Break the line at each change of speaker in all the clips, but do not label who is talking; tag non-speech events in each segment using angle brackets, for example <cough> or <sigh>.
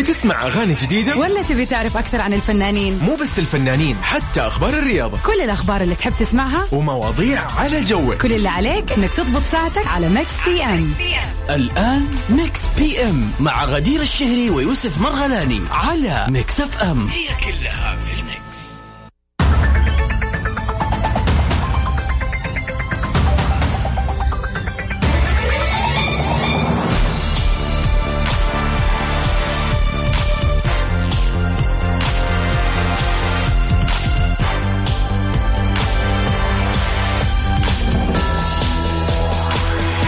تسمع أغاني جديدة
ولا تبي تعرف أكثر عن الفنانين
مو بس الفنانين حتى أخبار الرياضة
كل الأخبار اللي تحب تسمعها
ومواضيع على جوك
كل اللي عليك انك تضبط ساعتك على ميكس بي ام
الآن ميكس بي ام مع غدير الشهري ويوسف مرغلاني على ميكس اف ام هي كلها في الميكس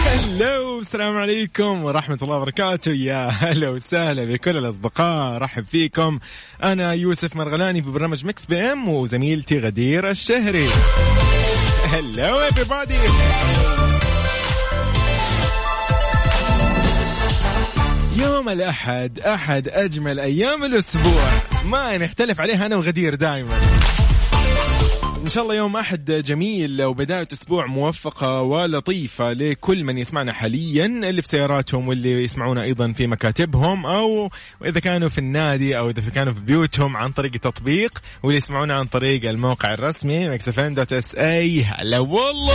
هلو السلام عليكم ورحمة الله وبركاته يا هلا وسهلا بكل الأصدقاء رحب فيكم أنا يوسف مرغلاني في برنامج مكس بي ام وزميلتي غدير الشهري هلو everybody يوم الأحد أحد أجمل أيام الأسبوع ما نختلف عليها أنا وغدير دائماً ان شاء الله يوم احد جميل وبدايه اسبوع موفقه ولطيفه لكل من يسمعنا حاليا اللي في سياراتهم واللي يسمعونا ايضا في مكاتبهم او اذا كانوا في النادي او اذا كانوا في بيوتهم عن طريق التطبيق واللي يسمعونا عن طريق الموقع الرسمي مكسفن.sa هلا والله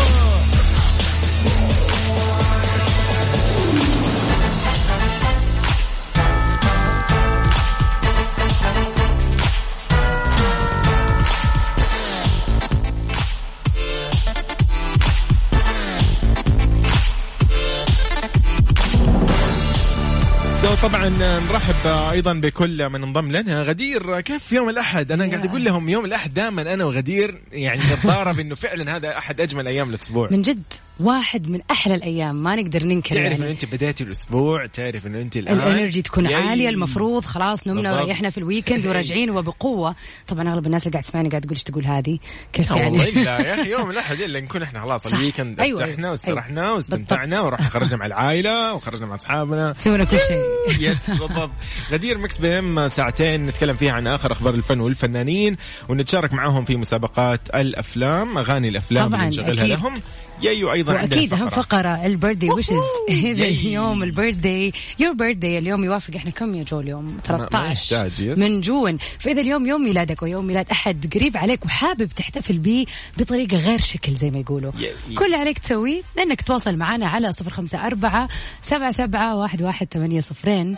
سو طبعا نرحب ايضا بكل من انضم لنا غدير كيف في يوم الاحد انا قاعد اقول لهم يوم الاحد دائما انا وغدير يعني نتضارب انه فعلا هذا احد اجمل ايام الاسبوع
من جد واحد من احلى الايام ما نقدر ننكر
تعرف انه
يعني.
انت بديتي الاسبوع تعرف انه انت الان
الانرجي تكون
ياي.
عاليه المفروض خلاص نمنا
بالضبط.
وريحنا في الويكند وراجعين وبقوه طبعا اغلب الناس اللي قاعد تسمعني قاعد تقول ايش تقول هذه كيف
لا
<laughs>
والله
يعني
الا يا اخي يوم الاحد الا نكون احنا خلاص
صح.
الويكند
أيوة،
ارتحنا
أيوة.
واسترحنا واستمتعنا
بالضبط.
ورحنا خرجنا مع العائله وخرجنا مع اصحابنا
سوينا كل شيء
<laughs> يس بالضبط غدير مكس بي ام ساعتين نتكلم فيها عن اخر اخبار الفن والفنانين ونتشارك معاهم في مسابقات الافلام اغاني الافلام
طبعاً،
اللي نشغلها
أكيد.
لهم ياي وايضا
واكيد
عندنا
اهم
فقره
فقره البيرثدي ويشز <laughs> هذا
ياي.
اليوم البيرثدي يور بيرثدي اليوم يوافق احنا كم يا جو اليوم
ما- ما
13
يحتاج، يس.
من جون فاذا اليوم يوم ميلادك ويوم ميلاد احد قريب عليك وحابب تحتفل به بطريقه غير شكل زي ما يقولوا
ياي.
كل اللي عليك تسويه انك تواصل معنا على 054 77 صفرين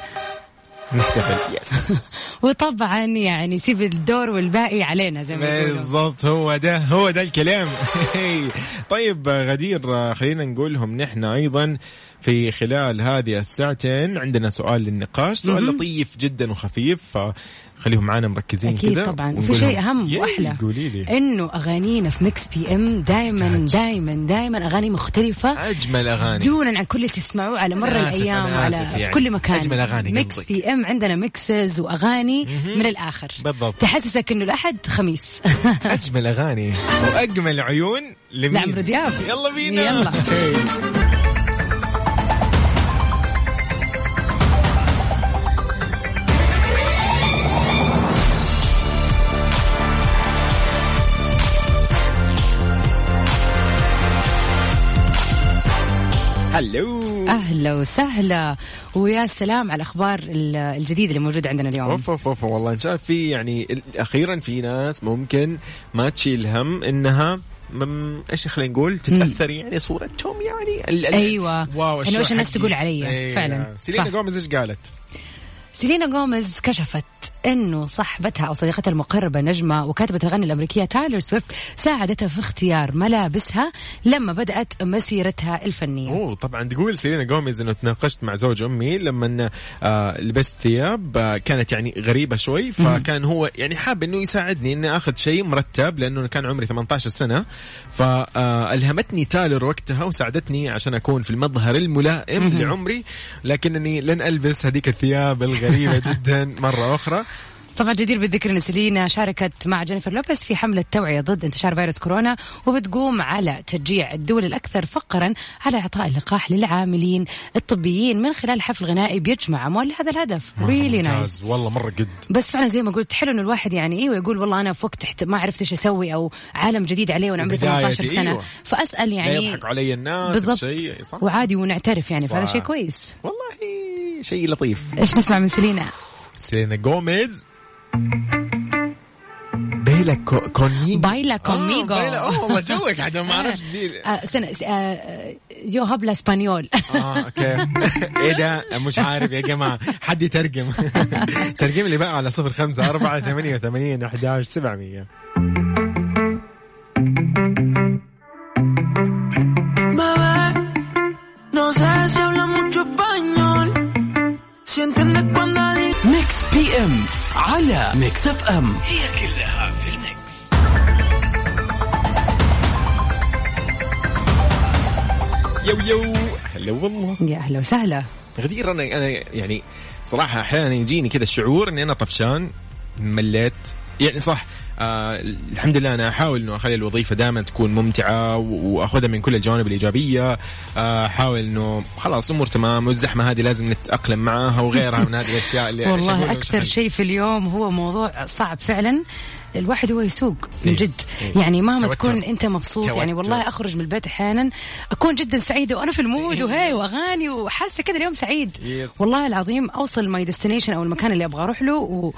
نحتفل يس
وطبعا يعني سيب الدور والباقي علينا زي ما يقولوا
بالضبط هو ده هو ده الكلام <laughs> طيب غدير خلينا نقولهم نحن ايضا في خلال هذه الساعتين عندنا سؤال للنقاش سؤال لطيف جدا وخفيف فخليهم معنا مركزين
اكيد
كذا
طبعا وفي
ونقولهم-
شيء إيه؟ اهم
ياي،
واحلى
قولي لي
انه اغانينا في ميكس بي ام دائما دائما دائما اغاني مختلفه
اجمل اغاني
دونا عن كل اللي تسمعوه على مر
أنا آسف،
الايام
أنا
على
آسف
في
يعني.
كل مكان
أجمل أغاني
ميكس
قصدك.
بي ام عندنا ميكسز واغاني من الاخر
بالضبط.
<laughs> تحسسك انه الاحد خميس
اجمل اغاني واجمل عيون لمين؟
لعمرو دياب.
يلا بينا
نعم، يلا.
هلو
اهلا وسهلا ويا سلام على الاخبار ال- الجديده اللي موجوده عندنا اليوم
اوف اوف اوف والله نشاف في يعني ال- اخيرا في ناس ممكن ما تشيل هم انها مم ايش خلينا نقول تتاثر يعني صورتهم يعني ال- ال-
أيوة.
واو
أنا
الشعور
وش الناس
حقيقي.
تقول علي؟ فعلاً.
سيلينا
صح.
جوميز ايش قالت؟
سيلينا جوميز كشفت انه صاحبتها او صديقتها المقربه نجمه وكاتبه الغنى الامريكيه تايلر سويفت ساعدتها في اختيار ملابسها لما بدات مسيرتها الفنيه
اوه طبعا تقول سيلينا جوميز انه تناقشت مع زوج امي لما آه لبست ثياب آه كانت يعني غريبه شوي فكان هو يعني حاب انه يساعدني اني اخذ شيء مرتب لانه كان عمري 18 سنه فالهمتني آه، تايلر وقتها وساعدتني عشان اكون في المظهر الملائم لعمري لكنني لن البس هذيك الثياب الغريبه جدا مره اخرى
طبعا جدير بالذكر ان سيلينا شاركت مع جينيفر لوبيز في حمله توعيه ضد انتشار فيروس كورونا وبتقوم على تشجيع الدول الاكثر فقرا على اعطاء اللقاح للعاملين الطبيين من خلال حفل غنائي بيجمع اموال لهذا الهدف ريلي نايس
آه، ممتاز، والله مره قد
بس فعلا زي ما قلت حلو انه الواحد يعني ايوه يقول والله انا في وقت تحت ما عرفت ايش اسوي او عالم جديد علي وانا عمري
بدايتي،
18 سنه
أيوة.
فاسال
يعني لا
يعني
يضحك علي الناس
بالضبط
بشيء صح
وعادي ونعترف يعني فهذا
صح.
شيء كويس
والله شيء لطيف <laughs>
ايش نسمع من سيلينا
سيلينا جوميز بيلا كو- كونميجو
بايلا كوميغو
آه، بايلا اوه والله جوك عاد ما اعرفش دي
آه، سنة آه، يو هابلا اسبانيول
اه <laughs> اوكي ايه ده مش عارف يا جماعه حد <laughs> يترجم ترجم لي بقى على 05 4 88 11 700
Bebé, no sé si habla mucho español. Si entiendes cuando digo.
ميكس بي ام على ميكس اف ام
يو يو هلا والله
يا اهلا وسهلا
غدير انا انا يعني صراحه احيانا يجيني كذا الشعور اني انا طفشان مليت يعني صح آه الحمد لله انا احاول انه اخلي الوظيفه دائما تكون ممتعه و- واخذها من كل الجوانب الايجابيه آه، احاول انه خلاص الامور تمام والزحمه هذه لازم نتاقلم معاها وغيرها من هذه الاشياء اللي أنا
والله
شغلها وش
اكثر
حل.
شيء في اليوم هو موضوع صعب فعلا الواحد هو يسوق من
إيه،
جد
إيه.
يعني مهما
توتر.
تكون انت مبسوط يعني
توتر.
والله اخرج من البيت احيانا اكون جدا سعيده وانا في
إيه.
المود وهي واغاني وحاسه كده اليوم سعيد
Yes.
والله العظيم اوصل ماي ديستنيشن او المكان اللي ابغى اروح له و...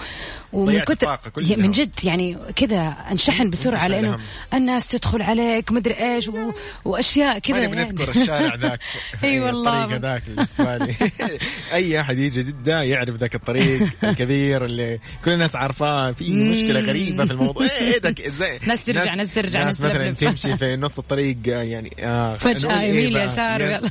ومن
ضيعت
كتر
طاقة كلها. إيه.
يا- من جد يعني كذا انشحن بسرعه
انتشال
لانه
الهم.
الناس تدخل عليك مدري ايش و... واشياء كذا يعني.
ما نبي نذكر
<laughs>
الشارع ذاك
اي والله
الطريق ذاك اللي في بالي.
<laughs>
اي احد يجي جده يعرف ذاك الطريق الكبير اللي كل الناس عارفاه في مشكله غريبه في الموضوع ايه ذاك ازاي
<laughs> ناس ترجع، ناس ترجع،
ناس
ناس
مثلا
تلفلف.
تمشي في نص الطريق آه، يعني آه
فجأة
نقول إيه
يمين
بقى؟
يسار
Yes.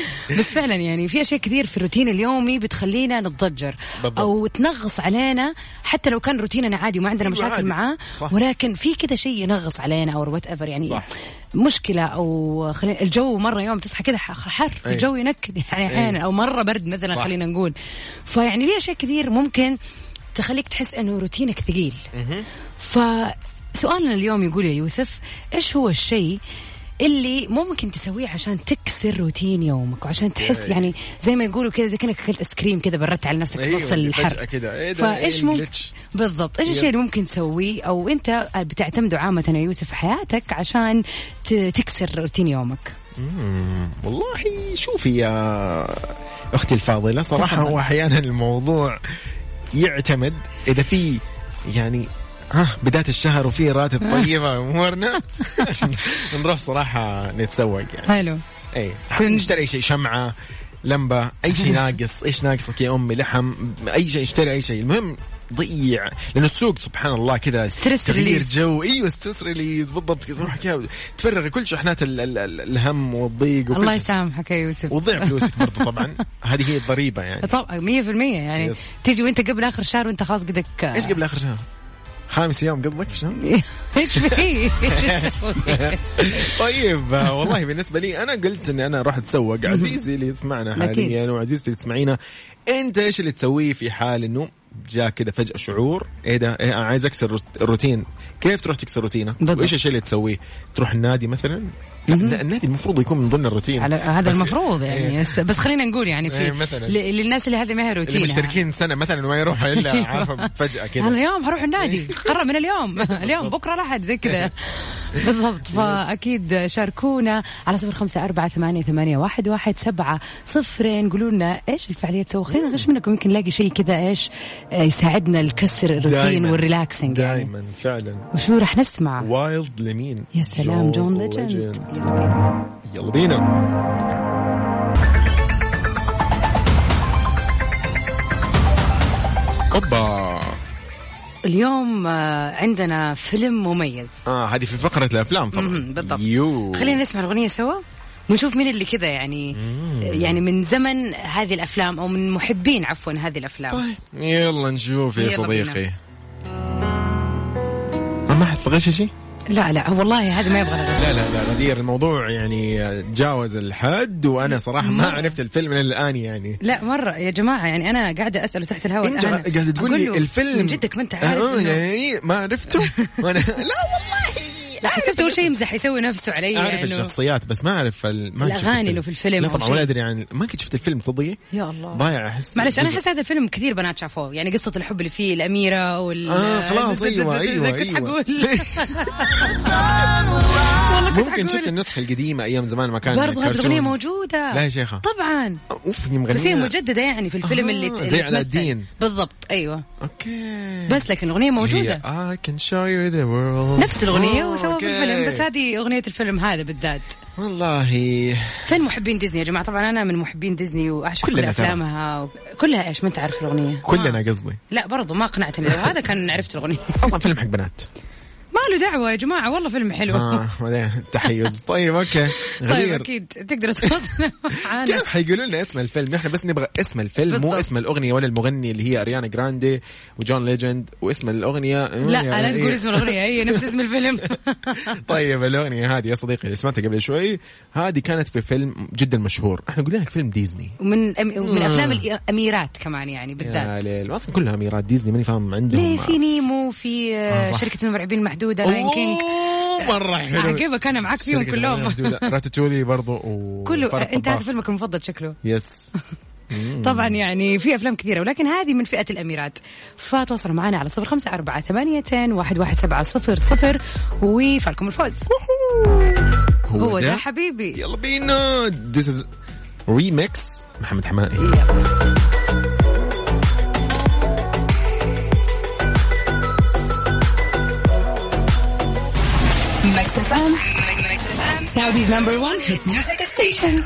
ويلا.
<laughs>
بس فعلا يعني في اشياء كثير في الروتين اليومي بتخلينا نتضجر
بالضبط.
او تنغص علينا حتى لو كان روتيننا عادي وما عندنا
أيوة عادي.
مشاكل معاه
صح.
ولكن في كذا شيء ينغص علينا او وات ايفر يعني
صح.
مشكله او خلينا الجو مره يوم تصحى كذا ح- حر
أي.
الجو ينكد يعني احيانا
أي.
او مره برد مثلا
إيه. صح.
خلينا نقول فيعني في اشياء كثير ممكن تخليك تحس انه روتينك ثقيل فسؤالنا اليوم يقول يا يوسف ايش هو الشيء اللي ممكن تسويه عشان تكسر روتين يومك وعشان تحس
إيه.
يعني زي ما يقولوا كذا زي كانك اكلت ايس كريم كذا بردت على نفسك في
أيوة،
نص
اللي
الحر
فجأة كذا، إيه ده، إيه
فايش ممكن
الجلتش؟
بالضبط ايش الشيء اللي ممكن تسويه او انت بتعتمده عامه يا يوسف في حياتك عشان ت- تكسر روتين يومك
مم، والله شوفي يا اختي الفاضله صراحه هو احيانا الموضوع يعتمد اذا في يعني ها بدايه الشهر
<laughs>
وفي راتب طيبه امورنا <laughs> نروح صراحه نتسوق يعني
حلو
اي
تن-
نشتري شيء شمعه لمبه اي
<laughs>
شيء ناقص ايش ناقصك يا امي لحم اي شيء اشتري اي شيء المهم ضيع لانه السوق سبحان الله كذا
Stress
تغيير
release.
جو ايوه ستريس ريليز بالضبط كذا تروح كذا تفرغ كل شحنات ال ال ال الهم والضيق وكل
الله
شيء.
يسامحك يا يوسف
وتضيع فلوسك برضه طبعا هذه هي الضريبه يعني
طبعا 100% يعني
Yes.
تيجي وانت قبل اخر شهر وانت خلاص قدك
ايش
<laughs>
قبل اخر شهر؟ خامس يوم قصدك شنو؟
ايش في ايش
<laughs>
تسوي؟
طيب آه، والله بالنسبه لي انا قلت اني انا راح اتسوق عزيزي اللي يسمعنا
أكيد.
حاليا وعزيزتي اللي تسمعينا انت ايش اللي تسويه في حال انه جاء كذا فجاه شعور ايه ده إيه انا عايز اكسر روت- الروتين كيف تروح تكسر روتينك
بالضبط.
وايش الشيء اللي تسويه تروح النادي مثلا لا، النادي المفروض يكون من ضمن الروتين
على هذا
بس-
المفروض يعني
إيه.
بس, بس خلينا نقول يعني في
إيه، مثلاً.
ل- للناس اللي هذه ما هي
اللي
روتين يعني.
مشتركين سنه مثلا وما يروح
<laughs>
الا عارفه فجاه
انا
كذا
اليوم هروح النادي
إيه.
قرر من
<laughs>
اليوم اليوم بكره الاحد زي كذا بالضبط
إيه.
فاكيد شاركونا على صفر خمسه اربعه ثمانيه, ثمانية واحد, واحد سبعه صفرين قولوا لنا ايش الفعاليه تسوي
إيه.
خلينا نغش منكم يمكن نلاقي شيء كذا ايش آه، يساعدنا نكسر الروتين
دايماً.
والريلاكسنج يعني
دائما فعلا
وشو راح نسمع
وايلد لمين
يا سلام جون ليجند
ليجند.
يلا بينا.
يلا بينا اوبا
اليوم آه، عندنا فيلم مميز
اه هذه في فقرة الافلام طبعا
مهم، بالضبط
يو
خلينا نسمع الأغنية سوا ونشوف مين اللي كذا يعني يعني من زمن هذه الأفلام أو من محبين عفوا هذه الأفلام
طيب يلا نشوف يا
يلا
صديقي
بينا.
آه، ما حد غش شيء؟
لا لا والله هذا ما يبغى لها
لا لا لا غدير الموضوع يعني تجاوز الحد وانا صراحة ما عرفت الفيلم إلا الان يعني
لا مرة يا جماعة يعني أنا قاعدة أسأله تحت الهواء
انت
أنا
قاعد تقول
أقول
لي
له
الفيلم أه،
من جدك ما أنت عارف <laughs>
آه
إنه-
يعني ما عرفته وانا لا والله
لا حسبت اول شيء يمزح يسوي نفسه علي
اعرف
إنه-
الشخصيات بس ما اعرف ال... ما كنت شفت
الأغاني اللي في الفيلم
لا
أو
طبعا
شيء.
ولا ادري عن ما كنت شفت الفيلم تصدقي
يا الله
ضايع احس
معلش انا
جزء.
احس هذا الفيلم كثير بنات شافوه يعني قصه الحب اللي فيه الاميره وال
آه،
<laughs>
خلاص، أيوة، أيوة،
كنت <laughs>
أيوة.
حقول
ممكن
حقول.
شفت النسخه القديمه ايام زمان ما كان
برضو هذه الاغنيه
كرتون.
موجوده
لا يا شيخة.
طبعا
اوف هي مغنيه
بس هي مجدده يعني في الفيلم
آه،
اللي ت-
زي
اللي
علاء
تمثل.
الدين.
بالضبط ايوه
اوكي
بس لكن الاغنيه موجوده
هي آه، I can show you the world
نفس الاغنيه
أوه،
وسووا في
آه، أوكي.
الفيلم بس هذه اغنيه الفيلم هذا بالذات
والله
فين محبين ديزني يا جماعه طبعا انا من محبين ديزني واعشق كل
كلنا ترى.
افلامها و... كلها ايش ما انت عارف الاغنيه
كلنا
ما.
قصدي
لا برضو ما اقنعتني لو هذا كان عرفت <laughs> الاغنيه
اصلا فيلم حق بنات
ما له دعوه يا جماعه والله فيلم حلو
اه بعدين تحيز طيب اوكي
طيب
غدير
اكيد تقدروا تتواصلوا <laughs> معانا
كيف حيقولوا لنا اسم الفيلم نحن بس نبغى اسم الفيلم مو
بالضبط.
اسم الاغنيه ولا المغني اللي هي اريانا جراندي وجون ليجند واسم الاغنيه
لا لا تقول اسم الاغنيه هي نفس اسم الفيلم
<laughs> طيب الاغنيه هذه يا صديقي اللي سمعتها قبل شوي هذه كانت في فيلم جدا مشهور احنا قلنا لك فيلم ديزني
ومن أم... من افلام الاميرات كمان يعني
يا
بالذات
ليل اصلا كلها اميرات ديزني ماني فاهم عندهم
ليه في نيمو في آه،
آه، صح.
شركه المرعبين المحدوده لاين كينج
أوه، مره حلو
عجبك أنا معاك فيهم
شركة
كلهم.
الأغنية محدودة. راتاتولي برضو و-
كله
وفرق
انت هذا
طباخ.
فيلمك المفضل شكله
يس
طبعا يعني في افلام كثيره ولكن هذه من فئه الاميرات فتواصلوا معنا على صفر خمسه اربعه ثمانيه واحد واحد سبعه صفر صفر وفالكم الفوز هو ده حبيبي
يلا بينا ذيس از ريميكس محمد حمائي
ميكس اف ام سعوديز نمبر 1 هيت ميوزك ستيشن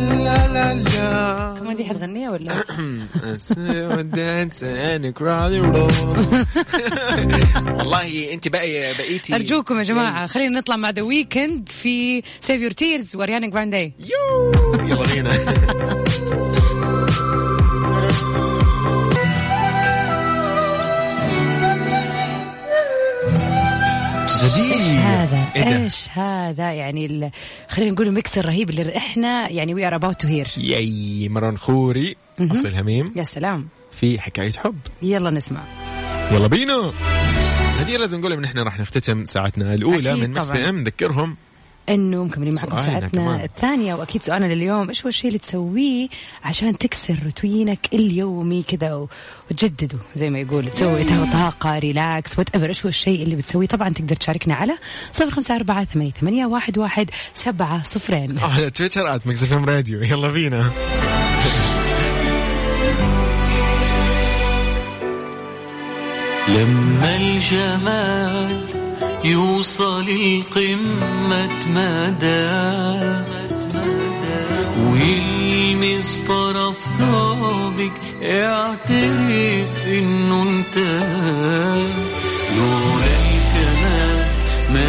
لا لا لا
كمان دي حتغنيها ولا
والله انت باقي بقيتي
ارجوكم يا جماعه خلينا نطلع مع ذا ويكند في سيف يور تيرز وريانا جراندي
يو يلا بينا
ايش هذا
إيه
ايش هذا يعني ال- خلينا نقول الميكس الرهيب اللي احنا يعني وي ار اباوت تو هير
ياي مرن خوري اصل هميم
يا سلام
في حكايه حب
يلا نسمع
يلا بينا هذه لازم نقول ان احنا راح نختتم ساعتنا الاولى
أكيد
من مكس
طبعاً.
بي ام نذكرهم
انه مكملين معكم
سؤالنا
ساعتنا
كمان.
الثانيه واكيد سؤالنا لليوم ايش هو الشيء اللي تسويه عشان تكسر روتينك اليومي كذا و- وتجدده زي ما يقول تسوي تهو طاقه ريلاكس وات ايش هو الشيء اللي بتسويه طبعا تقدر تشاركنا على 054 88 11 7 صفرين
على تويتر ات مكس ام راديو يلا بينا
لما الجمال يوصل القمة مدى ويلمس طرف ثوبك اعترف انه انت لولا الكمال ما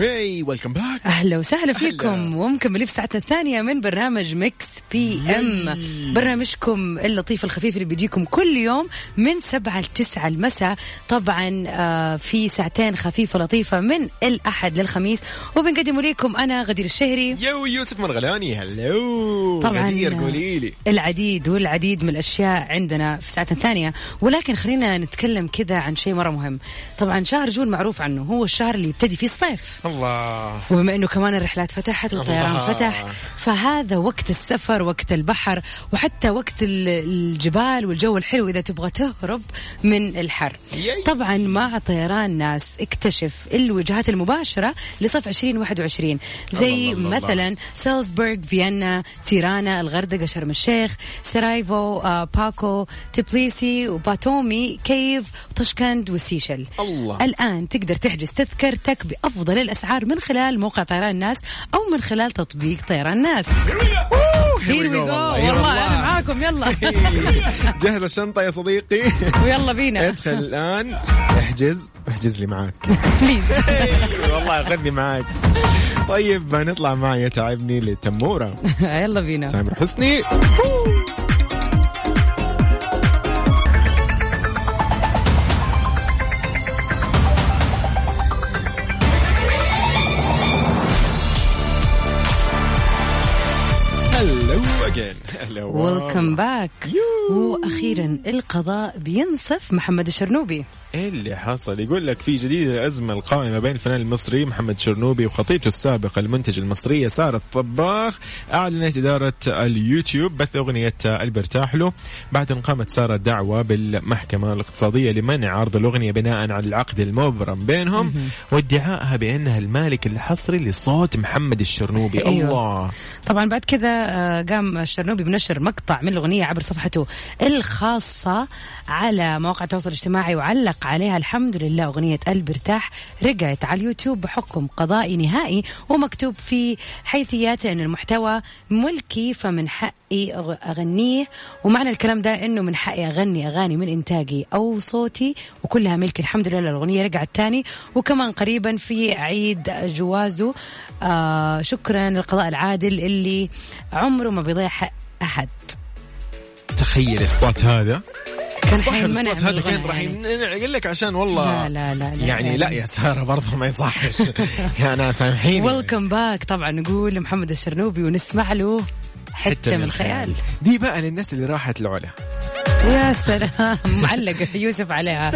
هي ويلكم باك
اهلا وسهلا فيكم ومكملين في ساعتنا الثانيه من برنامج ميكس بي ام برنامجكم اللطيف الخفيف اللي بيجيكم كل يوم من سبعة لتسعة المساء طبعا آه، في ساعتين خفيفه لطيفه من الاحد للخميس وبنقدمه لكم انا غدير الشهري
يو يوسف مرغلاني هلو
طبعاً.
غدير قولي لي
العديد والعديد من الاشياء عندنا في ساعتنا الثانيه ولكن خلينا نتكلم كذا عن شيء مره مهم طبعا شهر جون معروف عنه هو الشهر اللي يبتدي في الصيف
الله
وبما انه كمان الرحلات فتحت والطيران
الله.
فتح فهذا وقت السفر وقت البحر وحتى وقت ال- الجبال والجو الحلو اذا تبغى تهرب من الحر
ياي.
طبعا مع طيران ناس اكتشف الوجهات المباشره لصيف 2021 زي
الله الله.
مثلا سالزبورغ فيينا تيرانا الغردقه شرم الشيخ سرايفو آه، باكو تبليسي وباتومي كيف طشكند وسيشل
الله.
الآن تقدر تحجز تذكرتك بأفضل الأسعار من خلال موقع طيران ناس أو من خلال تطبيق طيران ناس Here we go والله أنا معاكم يلا <laughs>
جهز الشنطة يا صديقي
ويلا بينا
ادخل الآن احجز احجز لي معاك
بليز
إيه، والله خذني معاك طيب نطلع معي تعبني للتمورة
<laughs> يلا بينا
تامر حسني هلو اجين هلو
ويلكم باك واخيرا القضاء بينصف محمد الشرنوبي
ايه اللي حصل؟ يقول لك في جديد الازمه القائمه بين الفنان المصري محمد شرنوبي وخطيبته السابقه المنتج المصريه ساره الطباخ اعلنت اداره اليوتيوب بث اغنيه البرتاح له بعد ان قامت ساره دعوه بالمحكمه الاقتصاديه لمنع عرض الاغنيه بناء على العقد المبرم بينهم وادعائها بانها المالك الحصري لصوت محمد الشرنوبي
أيوة.
الله
طبعا بعد كذا آه، قام الشرنوبي بنشر مقطع من الأغنية عبر صفحته الخاصة على مواقع التواصل الاجتماعي وعلق عليها الحمد لله أغنية قلب ارتاح رجعت على اليوتيوب بحكم قضائي نهائي ومكتوب في حيثياته أن المحتوى ملكي فمن حقي إيه، أغ- أغنيه ومعنى الكلام ده أنه من حقي أغني أغاني من إنتاجي أو صوتي وكلها ملكي الحمد لله الأغنية رجعت تاني وكمان قريبا في عيد جوازه آه شكرا للقضاء العادل اللي عمره ما بيضيع حق أحد
تخيل الصوت هذا
كان
صاحب
حيمنع من
الصوت هذا
الغنى
كان راح
يعني.
يمنع- يقول لك عشان
لا
والله
لا لا لا
يعني لا يا ساره برضه ما يصحش يا انا سامحيني
ويلكم باك طبعا نقول لمحمد الشرنوبي ونسمع له حتى من الخيال
دي بقى للناس اللي راحت العلا
يا سلام <laughs> معلق يوسف عليها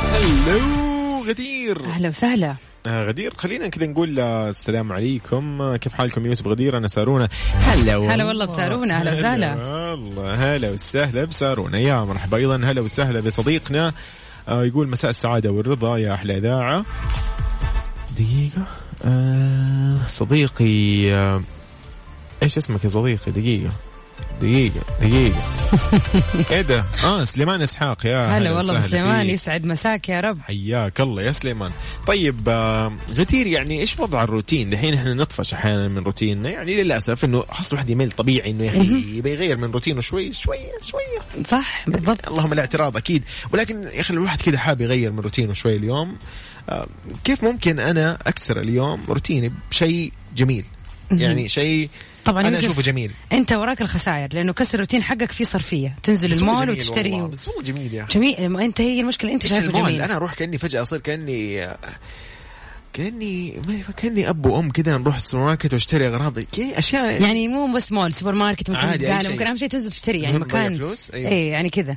هلو غدير
اهلا وسهلا
آه غدير خلينا كذا نقول آه، السلام عليكم آه، كيف حالكم يوسف غدير انا سارونا هلا
هلا والله بسارونا، أهلا وسهلا.
والله هلا وسهلا بسارونا يا مرحبا ايضا هلا وسهلا بصديقنا آه يقول مساء السعاده والرضا يا احلى اذاعه دقيقه آه صديقي آه ايش اسمك يا صديقي دقيقه دقيقة
<laughs>
دقيقة ايه ده؟ اه سليمان اسحاق يا
هلا والله
وسهلا
بسليمان
فيك.
يسعد مساك يا رب
حياك الله يا سليمان طيب آه، غتير يعني ايش وضع الروتين دحين احنا نطفش احيانا من روتيننا يعني للاسف انه خاص الواحد يميل طبيعي انه يا اخي يبي يغير من روتينه شوي شويه شويه
صح بالضبط
اللهم الاعتراض اكيد ولكن يا اخي الواحد كذا حاب يغير من روتينه شوي اليوم آه، كيف ممكن انا اكسر اليوم روتيني بشيء جميل يعني شيء
طبعاً
انا
يوسف،
اشوفه جميل
انت وراك الخسائر لانه كسر الروتين حقك فيه صرفيه تنزل
بس هو
المول
جميل والله،
وتشتري
بس هو جميل يا اخي
جميل ما انت هي المشكله انت
ايش
شايفه
المال؟
جميل
انا اروح كاني فجاه اصير كاني كاني ما أعرف، كاني اب وام كذا نروح السوبر ماركت واشتري اغراض كي اشياء
يعني مو بس مول سوبر ماركت ممكن
عادي، أي
قال
شيء.
ممكن اهم شيء تنزل تشتري يعني
المهم تضيع
مكان
فلوس، أيوة.
اي يعني كذا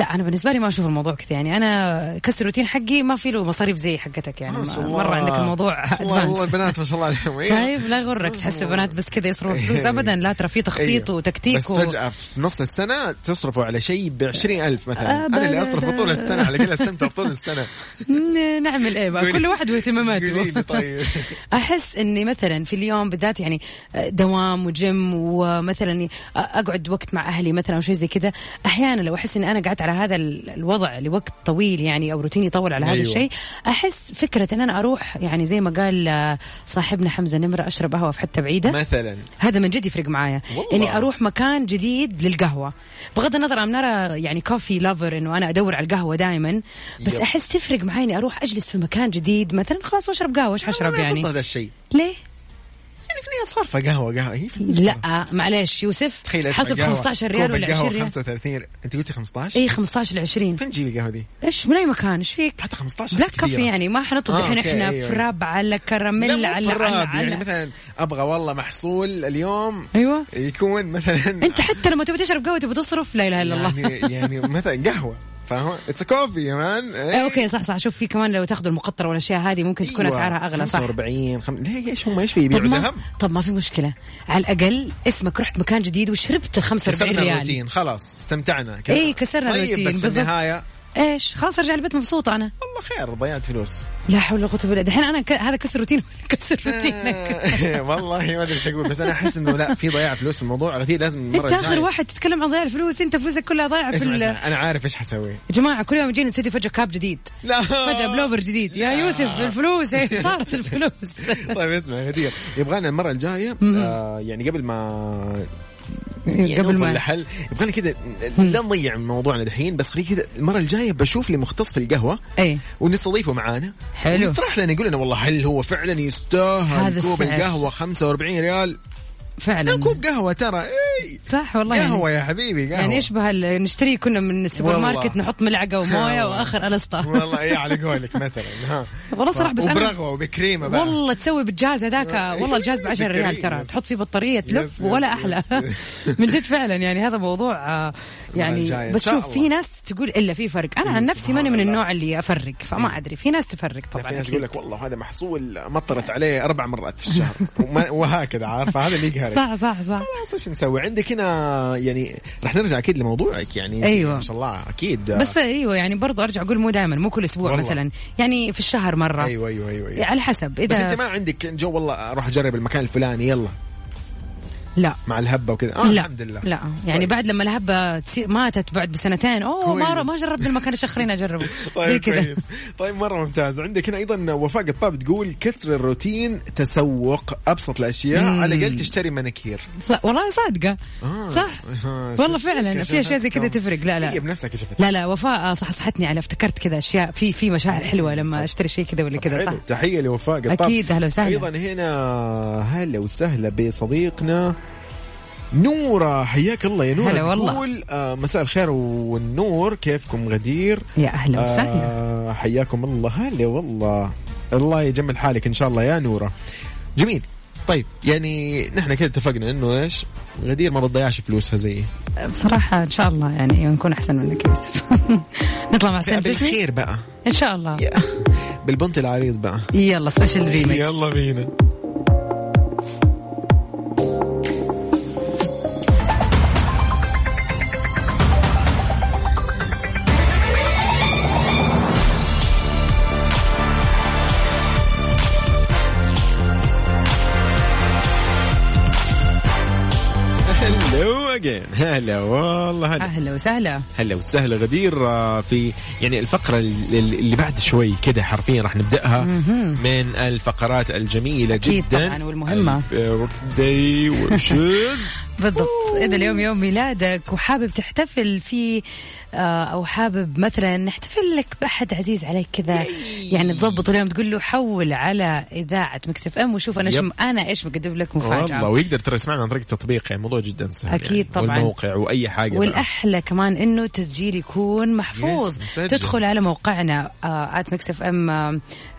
لا انا بالنسبه لي ما اشوف الموضوع كذا يعني انا كسر الروتين حقي ما في له مصاريف زي حقتك يعني
ما شاء
ما-
الله.
مره عندك الموضوع
ما شاء الله والله
ادفانس
البنات ما شاء الله
<laughs>
عليهم إيه.
شايف لا يغرك
<laughs>
تحس البنات بس كذا يصرفوا فلوس
إيه.
ابدا لا ترى في تخطيط
أيوه.
وتكتيك
بس
و-
فجأة في نص السنة تصرفوا على شيء ب 20000 مثلا أنا اللي
أبداً.
أصرف طول السنة على كذا أستمتع طول
<laughs>
السنة
ن- <laughs> نعمل ايه بقى
قولي-
كل واحد
قولي لي
واهتماماته <laughs>
طيب.
احس اني مثلا في اليوم بالذات يعني دوام وجيم ومثلا اقعد وقت مع اهلي مثلا او شيء زي كذا احيانا لو احس اني انا قعدت على هذا ال- الوضع لوقت طويل يعني او روتيني يطول على هذا
أيوة.
الشيء احس فكره ان انا اروح يعني زي ما قال آه، صاحبنا حمزه نمره اشرب قهوه في حته بعيده
مثلا
هذا من جد يفرق معايا
والله.
اني اروح مكان جديد للقهوه بغض النظر عن نرى يعني كوفي لافر انه انا ادور على القهوه دائما بس
يب.
احس تفرق معايا اني اروح اجلس في مكان جديد مثلا خلاص واشرب قهوه ايش حشرب
أنا ضد
يعني
هذا الشيء
ليه
يعني في النهايه صار فقهوه قهوه هي في
لا معليش يوسف
تخيل أشرب
حسب
قهوة،
15 ريال
كوب
ولا
القهوة
20 ريال إيه.
35 انت قلتي 15
اي 15 ل 20
فين تجيب القهوه دي؟
ايش من اي مكان ايش فيك؟
حتى 15
بلاك
كثيرة.
كافي يعني ما حنطلب
آه،
الحين
أوكي،
احنا
أيوة.
فراب على
لا
كراميل على
مو
على
فراب، يعني
على
مثلا ابغى والله محصول اليوم
ايوه
يكون مثلا
انت حتى لما تبي تشرب قهوه تبي تصرف لا اله الا الله <laughs>
يعني يعني مثلا قهوه فاهم؟ اتس كوفي يا مان
إيه، اوكي صح صح شوف في كمان لو تاخذوا المقطره والاشياء هذه ممكن تكون اسعارها اغلى صح
45 أيوة. خم... ليه ايش هم ايش في
طب ما
يبيعوا ذهب؟
طب ما في مشكله على الاقل اسمك رحت مكان جديد وشربت 45
كسرنا
ريال
الروتين خلاص استمتعنا
إيه، كسرنا
طيب
الروتين،
بس في
بالضبط.
النهايه
ايش خلاص ارجع البيت مبسوطه انا
والله خير ضيعت
<laughs>
فلوس <laughs>
لا حول ولا قوه الا بالله دحين انا ك... هذا كسر روتين <laughs> كسر روتينك
آه، والله ما ادري ايش اقول بس انا احس انه لا في ضياع فلوس في الموضوع غثير لازم المره
انت اخر
الجاية-
واحد تتكلم عن ضياع الفلوس انت فلوسك كلها ضايعه في
اسمع
ال-
اسمع انا عارف ايش
<laughs>
حسوي
يا جماعه كل يوم يجينا استوديو فجاه كاب جديد
لا
فجاه بلوفر جديد يا يوسف الفلوس إيه، طارت
<laughs>
الفلوس <laughs>
طيب اسمع يا غدير يبغانا المره الجايه آه يعني قبل ما يعني
قبل ما
الحل يبغانا كذا لا نضيع موضوعنا دحين بس خليه كذا المره الجايه بشوف لي مختص في القهوه
اي
ونستضيفه معانا
حلو.
يطرح لنا يقول لنا والله هل هو فعلا
هذا
يستاهل كوب
السعر.
القهوه 45 ريال
فعلا
لا كوب قهوه ترى إيه
صح والله يعني
قهوه يا حبيبي قهوه
يعني يشبه ال- نشتريه كنا من السوبر
والله.
ماركت نحط ملعقه ومويه
والله.
واخر انستا
والله ايه على قولك مثلا ها
والله صراحة بس أنا-
وبرغوه وبكريمه بقى
والله تسوي بالجاز
<laughs>
هذاك
آه.
والله الجاز ب 10
<laughs>
ريال ترى
يس.
تحط فيه بطاريه
يس،
تلف
يس،
ولا احلى
يس. <laughs>
من جد فعلا يعني هذا موضوع آه،
جاي.
يعني
إن
بس
شاء
شوف
الله.
في ناس تقول الا في فرق انا عن نفسي ماني من
الله.
النوع اللي افرق فما ادري في ناس تفرق
طبعا
طبعا
في ناس
أكيد.
يقول لك والله هذا محصول مطرت عليه اربع مرات في الشهر وما- وهكذا عارفه هذا اللي يقهرك
صح صح صح
خلاص ايش نسوي عندك هنا يعني رح نرجع اكيد لموضوعك يعني
أيوة.
ما شاء الله اكيد
بس ايوه يعني برضو ارجع اقول مو دائما مو كل اسبوع
والله.
مثلا يعني في الشهر مره
ايوه ايوه ايوه, أيوة.
على حسب
بس انت ما
اذا
عندك جو والله اروح اجرب المكان الفلاني يلا
لا
مع الهبه وكذا آه
لا
الحمد لله
لا يعني
طيب.
بعد لما الهبه تصير ماتت بعد بسنتين اوه ما
كويس.
ما جربت المكان شخرين
<laughs>
اجربه
طيب
زي كذا
كويس. طيب مره ممتاز عندك هنا ايضا وفاء قطاب تقول كسر الروتين تسوق ابسط الاشياء
مم.
على الاقل تشتري مناكير
ص- والله صادقه
آه.
صح
آه،
والله
شفت
فعلا
كشفت
في اشياء زي كذا
كم.
تفرق لا
هي
لا
بنفسها كشفت
لا لا وفاء صحصحتني على افتكرت كذا اشياء في في مشاعر حلوه لما اشتري شيء كذا ولا كذا صح
حلو. تحيه لوفاء قطاب
أكيد، أهلا وسهلا.
ايضا هنا هلا وسهلا بصديقنا نورة حياك الله يا نورة
هلا والله.
تقول آه مساء الخير والنور كيفكم غدير
يا اهلا وسهلا
آه حياكم الله هلا والله الله يجمل حالك ان شاء الله يا نوره جميل طيب يعني نحن كده اتفقنا انه ايش غدير ما بتضيعش فلوسها زيي
بصراحه ان شاء الله يعني نكون احسن منك يا يوسف <laughs> نطلع مع سلام جسمي
بالخير بقى
ان شاء الله
يا- بالبنط العريض بقى
يلا سبيشل ريميكس
بينا هلا again هلا والله هلا
اهلا وسهلا
هلا وسهلا غدير آه، في يعني الفقرة ال- ال- اللي بعد شوي كده حرفيا راح نبدأها من الفقرات الجميلة آه،
أكيد
جدا
طبعاً والمهمة. <laughs>
داي وشز
بالضبط اذا اليوم يوم ميلادك وحابب تحتفل فيه آه، او حابب مثلا نحتفل لك باحد عزيز عليك كذا
إيه.
يعني تظبط اليوم تقول له حول على اذاعه مكسف ام وشوف انا
يب.
شم انا ايش مقدم لك
والله
مفاجاه
ويقدر ترى يسمعنا عن طريق التطبيق يعني الموضوع جدا سهل
أكيد
يعني.
طبعاً.
والموقع واي حاجة بقى.
والاحلى كمان انه التسجيل يكون محفوظ
Yes، مسجل.
تدخل على موقعنا آه، ات ميكس اف ام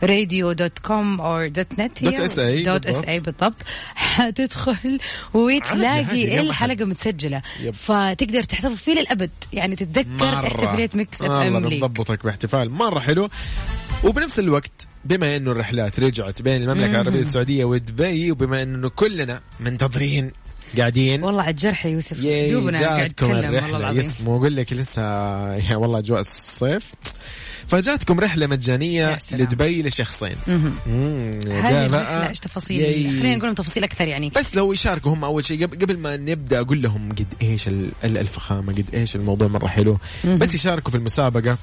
راديو دوت كوم اور دوت نت
دوت اس اي
دوت اس اي بالضبط حتدخل
عادي، عادي،
وتلاقي
يلا
الحلقه متسجله
يب.
فتقدر تحتفظ فيه للابد يعني تتذكر
مرة. آه،
احتفاليه ميكس اف
مرة
ام ليك
بتضبطك باحتفال مرة حلو وبنفس الوقت بما انه الرحلات رجعت بين المملكة العربية السعودية ودبي وبما انه كلنا منتظرين قاعدين
والله على الجرح يا يوسف
ياي
دوبنا قاعد
جاتكم
اتكلم والله
الرحلة
العظيم
يسمو واقول لك لسه يا والله اجواء الصيف فجاتكم رحلة مجانية
يا سلام.
لدبي لشخصين
مهم.
مم، ده
هذه
بقى
الرحله ايش تفاصيل
ياي.
خلينا نقول لهم تفاصيل اكثر يعني
بس لو يشاركوا هم اول شيء قبل قبل ما نبدا اقول لهم قد ايش ال- ال- الفخامه قد ايش الموضوع مره حلو بس يشاركوا في المسابقه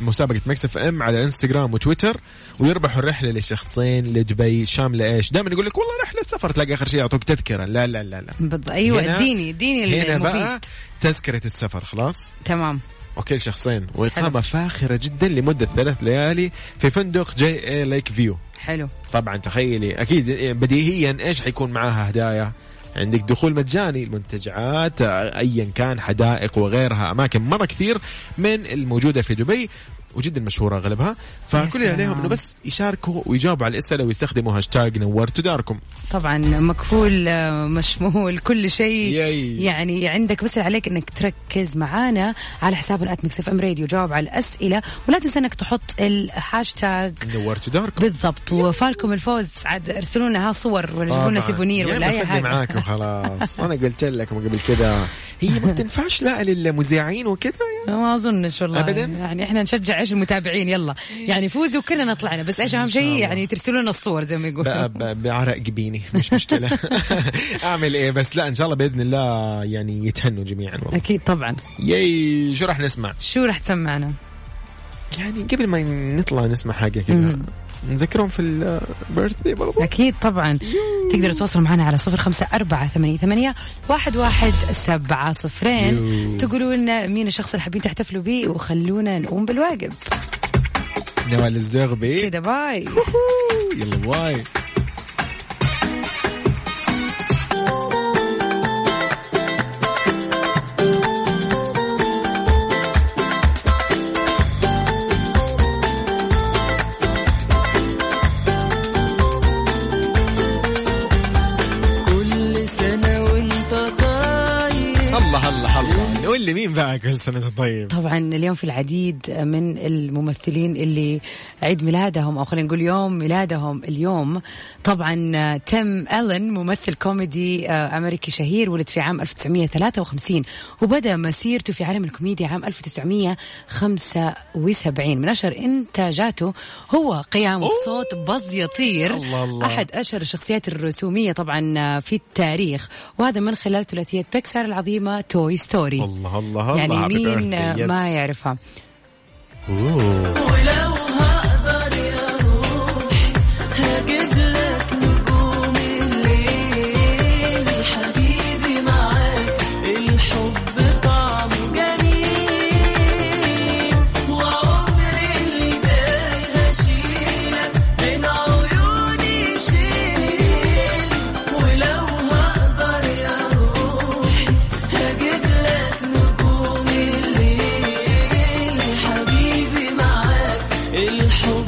مسابقة مكس اف ام على انستغرام وتويتر ويربحوا الرحلة لشخصين لدبي شاملة ايش؟ دائما يقول لك والله رحلة سفر تلاقي اخر شيء يعطوك تذكرة لا لا لا لا
بالضبط ايوه
هنا-
اديني اديني
هنا بقى
المفيد
تذكرة السفر خلاص
تمام
اوكي إيه شخصين واقامه فاخره جدا لمده ثلاث ليالي في فندق جي اي ليك فيو
حلو
طبعا تخيلي اكيد بديهيا ايش حيكون معاها هدايا عندك دخول مجاني المنتجعات آه، ايا كان حدائق وغيرها اماكن مره كثير من الموجوده في دبي وجدا مشهوره اغلبها فكل اللي
سلام.
عليهم انه بس يشاركوا ويجاوبوا على الاسئله ويستخدموا هاشتاج نورتوا داركم
طبعا مكفول آه، مشمول كل شيء
ياي.
يعني عندك بس اللي عليك انك تركز معانا على حسابنا ات ميكس اف ام راديو جاوب على الاسئله ولا تنسى انك تحط الهاشتاج
نورتوا داركم
بالضبط وفالكم الفوز عاد ارسلوا لنا صور ولا جيبوا لنا
طبعاً.
سيفونير
يا
ولا اي
مخلي
حاجه
معاكم خلاص انا قلت لكم قبل كذا هي ما تنفعش لا للمذيعين وكذا يعني.
ما اظنش والله
أبداً؟
يعني احنا نشجع ايش المتابعين يلا يعني فوزوا كلنا طلعنا بس ايش اهم شيء يعني ترسلوا لنا الصور زي ما يقولوا
ب- ب- بعرق جبيني مش <laughs> مشكله اعمل ايه بس لا ان شاء الله باذن الله يعني يتهنوا جميعا والله
اكيد طبعا
ياي شو راح نسمع؟
شو راح تسمعنا
يعني قبل ما نطلع نسمع حاجه كذا
مم.
نذكرهم في البيرث داي برضو
اكيد طبعا تقدروا تواصلوا معنا على صفر خمسه اربعه ثمانيه ثمانيه واحد واحد سبعه صفرين
يو.
تقولوا لنا مين الشخص اللي حابين تحتفلوا بيه وخلونا نقوم بالواجب
نوال الزغبي
كده باي
يلا باي
طيب.
كل سنة وانت طيب
الله الله الله نقول لي مين بقى كل سنه طيب
طبعا اليوم في العديد من الممثلين اللي عيد ميلادهم او خلينا نقول يوم ميلادهم اليوم طبعا تيم الن ممثل كوميدي آه، امريكي شهير ولد في عام 1953 وبدا مسيرته في عالم الكوميديا عام 1975 من اشهر انتاجاته هو قيامه بصوت بز يطير
الله الله.
احد أشهر الشخصيات الرسومية طبعا في التاريخ وهذا من خلال ثلاثية بيكسار العظيمة توي ستوري
الله الله
يعني
الله
مين
Happy birthday.
ما
Yes.
يعرفها
أوه.
ولو هقدر يا روح هجيب لك نجوم الليل حبيبي معاك الحب طعمه جميل وعمري اللي جاي هشيلك من عيوني شيل ولو هقدر يا روح هجيب لك نجوم الليل حبيبي معاك الحب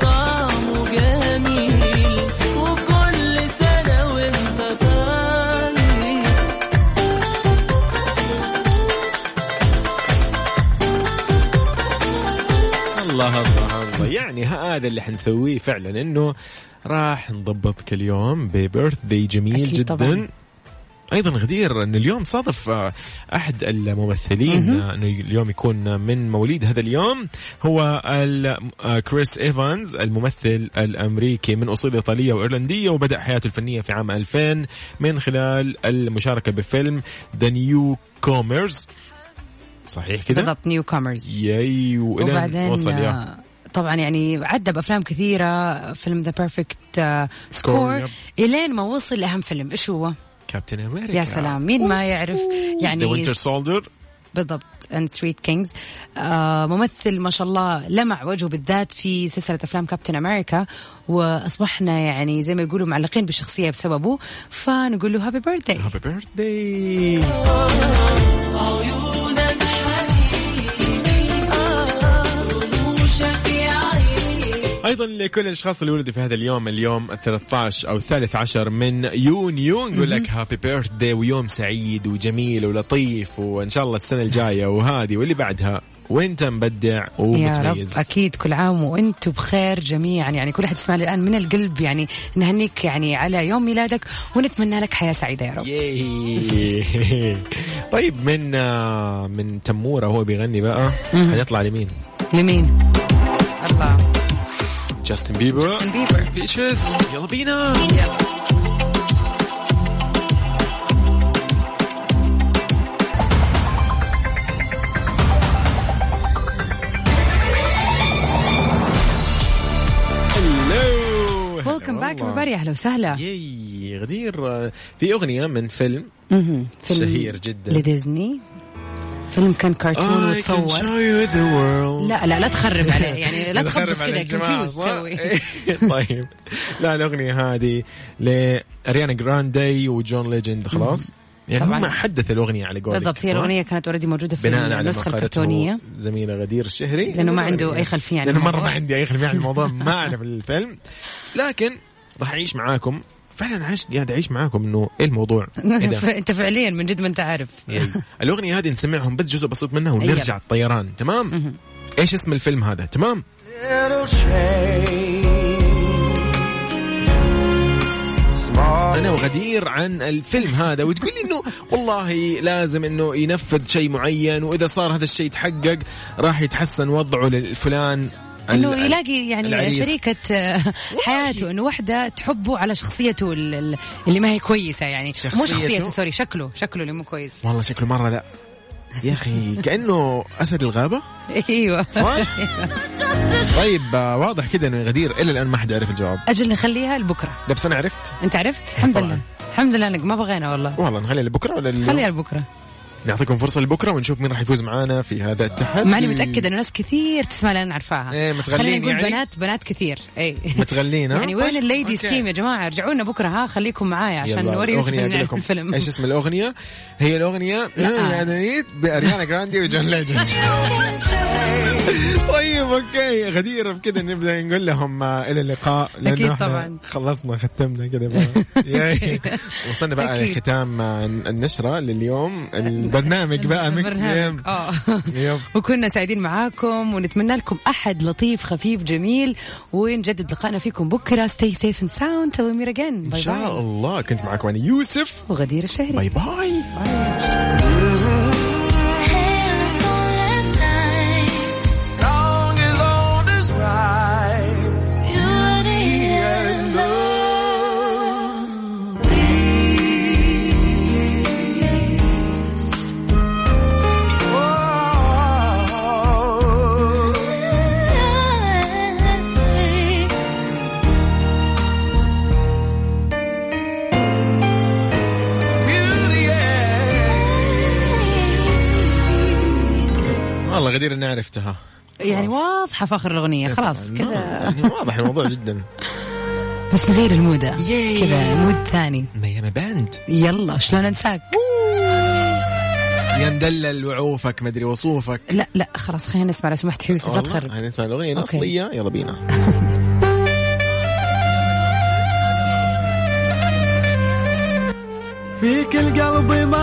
طعمه جميل وكل سنة وانت طيب
الله الله الله يعني هذا اللي حنسويه فعلا انه راح نضبطك اليوم ببيرث داي جميل
أكيد
جدا
طبعاً.
ايضا غدير ان اليوم صادف آه، احد الممثلين آه، انه اليوم يكون من مواليد هذا اليوم هو ال- آه، كريس ايفانز الممثل الامريكي من اصول ايطاليه وايرلنديه وبدا حياته الفنيه في عام 2000 من خلال المشاركه بفيلم ذا نيو كوميرز صحيح كذا
بالضبط نيو كومرز
ياي والين
وبعدين
إيه وصل يا
آه، طبعا يعني عدى بافلام كثيره فيلم ذا بيرفكت سكور
يب.
الين ما وصل لاهم فيلم ايش هو؟
كابتن امريكا
يا سلام مين ما يعرف
ذا
يعني
وينتر سولدر
بالضبط اند ستريت كينجز آه، ممثل ما شاء الله لمع وجهه بالذات في سلسله افلام كابتن امريكا واصبحنا يعني زي ما يقولوا معلقين بالشخصيه بسببه فنقول له هابي بيرثداي
هابي بيرثداي
عيونك حبيبي رموشك يا عيني
ايضا لكل الاشخاص اللي ولدوا في هذا اليوم اليوم 13 او 13 من يونيو نقول لك هابي بيرثداي ويوم سعيد وجميل ولطيف وان شاء الله السنه الجايه وهذه واللي بعدها وانت مبدع
يا رب
ومتميز
اكيد كل عام وانتم بخير جميعا يعني كل احد يسمعني الان من القلب يعني نهنيك يعني على يوم ميلادك ونتمنى لك حياه سعيده يا رب
ياي. <laughs> طيب من آه، من تموره هو بيغني بقى
مهم.
هنطلع لمين؟
لمين الله
جاستن بيبر
جاستن بيبر.
بيتشز يلا بينا هلو
ويلكم باك everybody اهلا وسهلا
ياي غدير آه، في اغنيه من فيلم
مهم. فيلم
شهير جداً. آه،
لديزني فيلم كان كرتون
I can
وتصور
show you the world.
لا لا لا تخرب
<laughs>
عليه يعني لا
تخرب
تخبص
على
كذا
الجماعة،
كونفيوز
صح؟
تسوي
<laughs> طيب لا الاغنيه هذه لاريانا جراندي وجون ليجند خلاص يعني
طبعاً.
هم حدث الاغنيه على قولك
بالضبط هي
صح؟
الاغنيه كانت اوريدي موجوده في
بناء على
النسخه الكرتونيه
زميله غدير الشهري
لأنه ما عنده أي خلفية عن
لانه مره
الموضوع.
ما عندي اي خلفيه عن الموضوع ما اعرف الفيلم لكن راح اعيش معاكم فعلا عشت قاعد اعيش معاكم انه ايه
<laughs>
الموضوع؟ إيه ده؟
انت فعليا من جد ما انت عارف
يعني الاغنيه هذه نسمعهم بس جزء بسيط منها ونرجع الطيران تمام؟ ايش اسم الفيلم هذا؟ تمام؟ انا وغدير عن الفيلم هذا وتقول لي انه والله لازم انه ينفذ شيء معين واذا صار هذا الشيء يتحقق راح يتحسن وضعه للفلان
انه
ال- ال-
يلاقي يعني
العريس.
شريكه آه، حياته انه واحده تحبه على شخصيته ال- ال- اللي ما هي كويسه يعني مو
شخصيته؟
شخصيته سوري شكله شكله اللي مو كويس <laughs>
والله شكله مره لا يا اخي كانه اسد الغابه
ايوه
صح؟ طيب آه، واضح كده انه غدير الى الان ما حد عرف الجواب
اجل نخليها لبكره
لا بس انا عرفت
انت عرفت الحمد
طبعاً.
لله الحمد لله انك ما بغينا والله
والله نخليها لبكره ولا لليوم؟
خليها لبكره
نعطيكم فرصة لبكرة ونشوف مين راح يفوز معانا في هذا التحدي
ماني متاكده انه ناس كثير تسمع لنا نعرفها
إيه، متغنين
خلينا نقول
يعني؟
بنات بنات كثير اي
متغلين ها؟
يعني وين
طيب،
الليديز
أوكي.
تيم يا جماعه ارجعوا لنا بكره ها خليكم معايا عشان
يلا،
نوري يوسف
الأغنية
إن
أقول
نعرف
لكم.
الفيلم
ايش اسم الاغنية؟ هي الاغنية <laughs>
لا.
يعني باريانا جراندي وجون
<laughs>
ليجند طيب اوكي غدير بكذا نبدا نقول لهم آه، الى اللقاء لأنه
أكيد
إحنا
طبعاً.
خلصنا ختمنا كذا
<laughs>
بقى. ياي. وصلنا بقى
أكيد. أه،
لختام آه، النشرة لليوم البرنامج
<laughs>
بقى ميكس
برنامج. اه
<laughs> يب.
وكنا سعيدين معاكم ونتمنى لكم احد لطيف خفيف جميل ونجدد لقائنا فيكم بكره stay safe and sound till we meet again
ان
باي باي
شاء الله كنت معكم انا يوسف
وغدير الشهري
باي باي
Oh, oh,
والله غدير اني عرفتها
يعني واضحه فاخر الاغنيه خلاص كذا
يعني واضح الموضوع جدا
بس نغير المودة كذا مود ثاني
ميامي باند
يلا شلون انساك
يا مدلل وعوفك مدري وصوفك
لا لا خلاص خلينا نسمع لو سمحت يوسف لا
والله
تخرب
هاي نسمع الاغنيه
أوكي.
الاصليه يلا بينا فيك القلب ما